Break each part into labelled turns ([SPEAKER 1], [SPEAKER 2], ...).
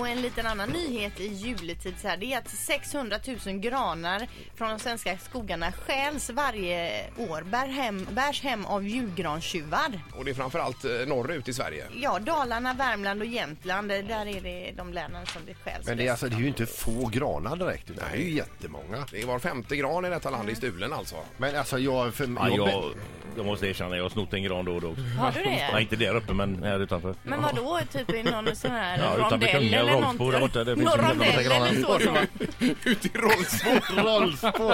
[SPEAKER 1] Och en liten annan nyhet i juletid så här, det är att 600 000 granar från de svenska skogarna stjäls varje år, bär hem, bärs hem av julgranstjuvar.
[SPEAKER 2] Och det är framförallt eh, norrut i Sverige.
[SPEAKER 1] Ja, Dalarna, Värmland och Jämtland, eh, där är det de länen som det stjäls
[SPEAKER 3] Men det är,
[SPEAKER 1] mest.
[SPEAKER 3] alltså, det är ju inte få granar direkt, utan det är ju jättemånga.
[SPEAKER 2] Det är var femte gran i detta land
[SPEAKER 4] Mm.
[SPEAKER 2] i stulen alltså.
[SPEAKER 3] Men alltså jag... För,
[SPEAKER 4] Ja,
[SPEAKER 3] jag-
[SPEAKER 4] jag, jag måste erkänna, jag har snott en gran då och då också.
[SPEAKER 1] Har du det?
[SPEAKER 4] Nej, inte där uppe men här utanför.
[SPEAKER 1] Men vad då typ i någon sån här
[SPEAKER 4] Ja, utanför
[SPEAKER 1] rondell
[SPEAKER 4] Kungälv,
[SPEAKER 1] eller
[SPEAKER 4] Rolfsbo där borta, det
[SPEAKER 1] någonting? Någon
[SPEAKER 4] finns en jävla massa
[SPEAKER 1] rondell eller så. som-
[SPEAKER 2] Ut i Rolfsbo!
[SPEAKER 3] Rolfsbo.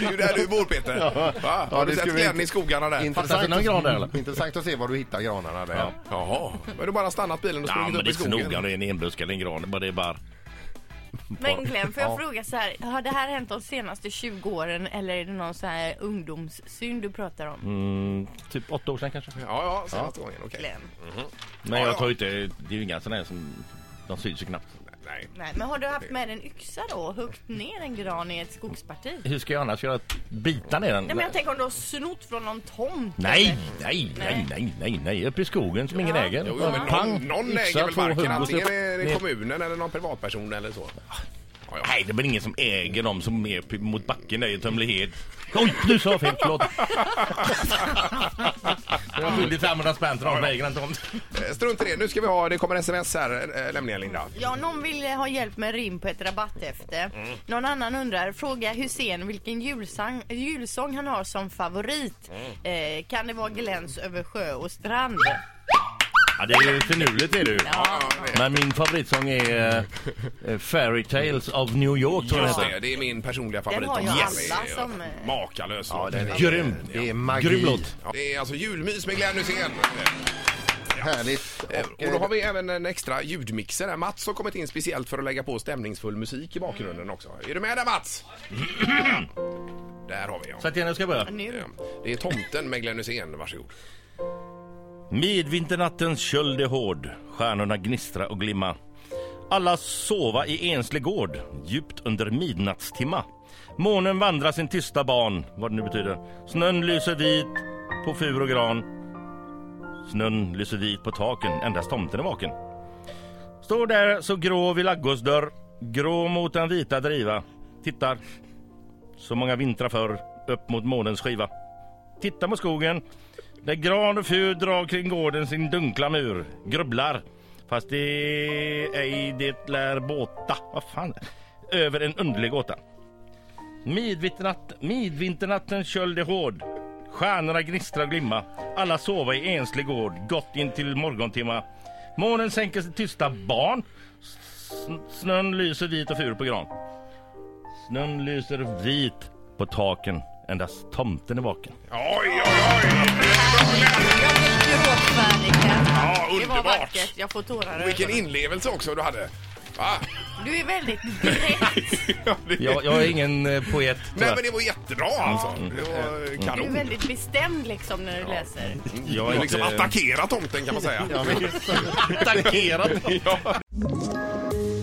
[SPEAKER 2] Det är ju där du bor Peter. Va? Har
[SPEAKER 3] Ja,
[SPEAKER 2] du
[SPEAKER 3] det
[SPEAKER 2] sett
[SPEAKER 3] skulle vi
[SPEAKER 2] glädjen
[SPEAKER 3] inte-
[SPEAKER 2] i skogarna där?
[SPEAKER 4] Fattas det någon gran där,
[SPEAKER 3] Intressant,
[SPEAKER 4] eller?
[SPEAKER 3] intressant att se var du hittar granarna där.
[SPEAKER 2] Jaha, men du bara stannat bilen och
[SPEAKER 4] Ja,
[SPEAKER 2] sprungit upp
[SPEAKER 4] men
[SPEAKER 2] i
[SPEAKER 4] det är inte så
[SPEAKER 2] skogen?
[SPEAKER 4] noga om det är en enbusk eller en gran. Bara det är bara...
[SPEAKER 1] Men Glenn, får jag
[SPEAKER 4] Ja.
[SPEAKER 1] fråga så här, har det här hänt de senaste 20 åren eller är det någon så här ungdomssynd du pratar om?
[SPEAKER 4] Mm, typ åtta år sedan kanske.
[SPEAKER 2] Ja, ja, senaste gången. Okej.
[SPEAKER 1] Glenn?
[SPEAKER 4] Men
[SPEAKER 2] Ja, ja.
[SPEAKER 4] jag tar ju inte... Det är ju inga sådana här som... De syns ju knappt.
[SPEAKER 2] Nej.
[SPEAKER 1] Nej, men har du haft med en yxa då och huggit ner en gran i ett skogsparti?
[SPEAKER 4] Hur ska jag annars göra? Bita ner den?
[SPEAKER 1] Nej, men jag tänker om du har snott från någon tomt.
[SPEAKER 4] Nej,
[SPEAKER 1] eller?
[SPEAKER 4] nej, nej, nej, nej, nej. Upp i skogen som ingen
[SPEAKER 1] Ja.
[SPEAKER 4] äger.
[SPEAKER 2] Jo, jo, men
[SPEAKER 4] Pang,
[SPEAKER 2] någon, någon
[SPEAKER 4] yxa,
[SPEAKER 2] äger väl
[SPEAKER 4] två hugg
[SPEAKER 2] marken?
[SPEAKER 4] och så-
[SPEAKER 2] Antingen är det
[SPEAKER 4] ner.
[SPEAKER 2] kommunen eller någon privatperson eller så. Ja, ja.
[SPEAKER 4] Nej, det är väl ingen som äger dem som är p- mot backen där i Tömlehed. Oj, nu sa jag fel, förlåt. Jag var skyldig 500 spänn till dem som äger en tomt.
[SPEAKER 2] Eh, Strunt i det. Nu ska vi ha, det kommer sms här eh, nämligen Linda.
[SPEAKER 1] Ja, någon vill eh, ha hjälp med rim på ett rabatthäfte. Någon annan undrar, fråga Hussein vilken julsang, julsång han har som favorit. Eh, kan det vara Gläns över sjö och strand?
[SPEAKER 4] Ja, det är ju finurligt är det ju.
[SPEAKER 1] Ja.
[SPEAKER 4] Men min favoritsång är eh, Fairy Tales of New York tror jag
[SPEAKER 2] Just
[SPEAKER 4] den
[SPEAKER 2] det, det är min personliga
[SPEAKER 1] Den
[SPEAKER 2] favorit.
[SPEAKER 1] har ju
[SPEAKER 2] också.
[SPEAKER 1] alla
[SPEAKER 2] Yes.
[SPEAKER 1] som... eh,
[SPEAKER 2] Makalös låt.
[SPEAKER 3] den
[SPEAKER 4] heter. Grym!
[SPEAKER 3] Det är magi.
[SPEAKER 4] Grym låt.
[SPEAKER 2] Ja, Det är alltså julmys med Glenn Hysén.
[SPEAKER 3] Härligt.
[SPEAKER 2] Eh, Och då har vi även en extra ljudmixer här. Mats har kommit in speciellt för att lägga på stämningsfull musik i bakgrunden också. Är du med där Mats? Där har vi ja.
[SPEAKER 4] Sätt igen, jag ska börja.
[SPEAKER 1] Nu.
[SPEAKER 2] Det är Tomten med Glenn Hysén, varsågod.
[SPEAKER 4] Midvinternattens köld är hård, stjärnorna gnistra och glimma. Alla sova i enslig gård, djupt under midnattstimma. Månen vandrar sin tysta ban, vad det nu betyder. Snön lyser vit på fur och gran. Snön lyser vit på taken, endast tomten är vaken. Står där så grå vid laggårdsdörr, grå mot den vita driva. Tittar, så många vintrar förr, upp mot månens skiva. Tittar mot skogen, där gran och fur drar kring gården sin dunkla mur. Grubblar. Fast det ej det lär båta. Vad fan? Över en underlig gåta. Midvinternatt, midvinternattens köld är hård. Stjärnorna gnistrar och glimma. Alla sova i enslig gård, gott in till morgontimma. Månen sänker sitt tysta barn. S- Snön lyser vit och fur på gran. Snön lyser vit på taken. Endast tomten är vaken.
[SPEAKER 2] Oj, oj, oj!
[SPEAKER 1] Jag blir gråtfärdig. Ken.
[SPEAKER 2] Ja,
[SPEAKER 1] Det var
[SPEAKER 2] underbart!
[SPEAKER 1] vackert, jag får tårar i
[SPEAKER 2] Vilken
[SPEAKER 1] ögonen.
[SPEAKER 2] inlevelse också du hade. Va?
[SPEAKER 1] Du är väldigt direkt.
[SPEAKER 2] Ja, det-
[SPEAKER 4] Jag, jag är ingen eh, poet
[SPEAKER 2] Nej
[SPEAKER 4] tyvärr.
[SPEAKER 2] men det var jättebra alltså. Det var
[SPEAKER 1] Du är
[SPEAKER 2] kanon.
[SPEAKER 1] väldigt bestämd liksom när du läser.
[SPEAKER 4] Jag är
[SPEAKER 2] Du har liksom
[SPEAKER 4] inte-
[SPEAKER 2] attackerat tomten kan man säga.
[SPEAKER 4] attackerat.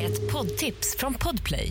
[SPEAKER 5] Ett poddtips från Podplay.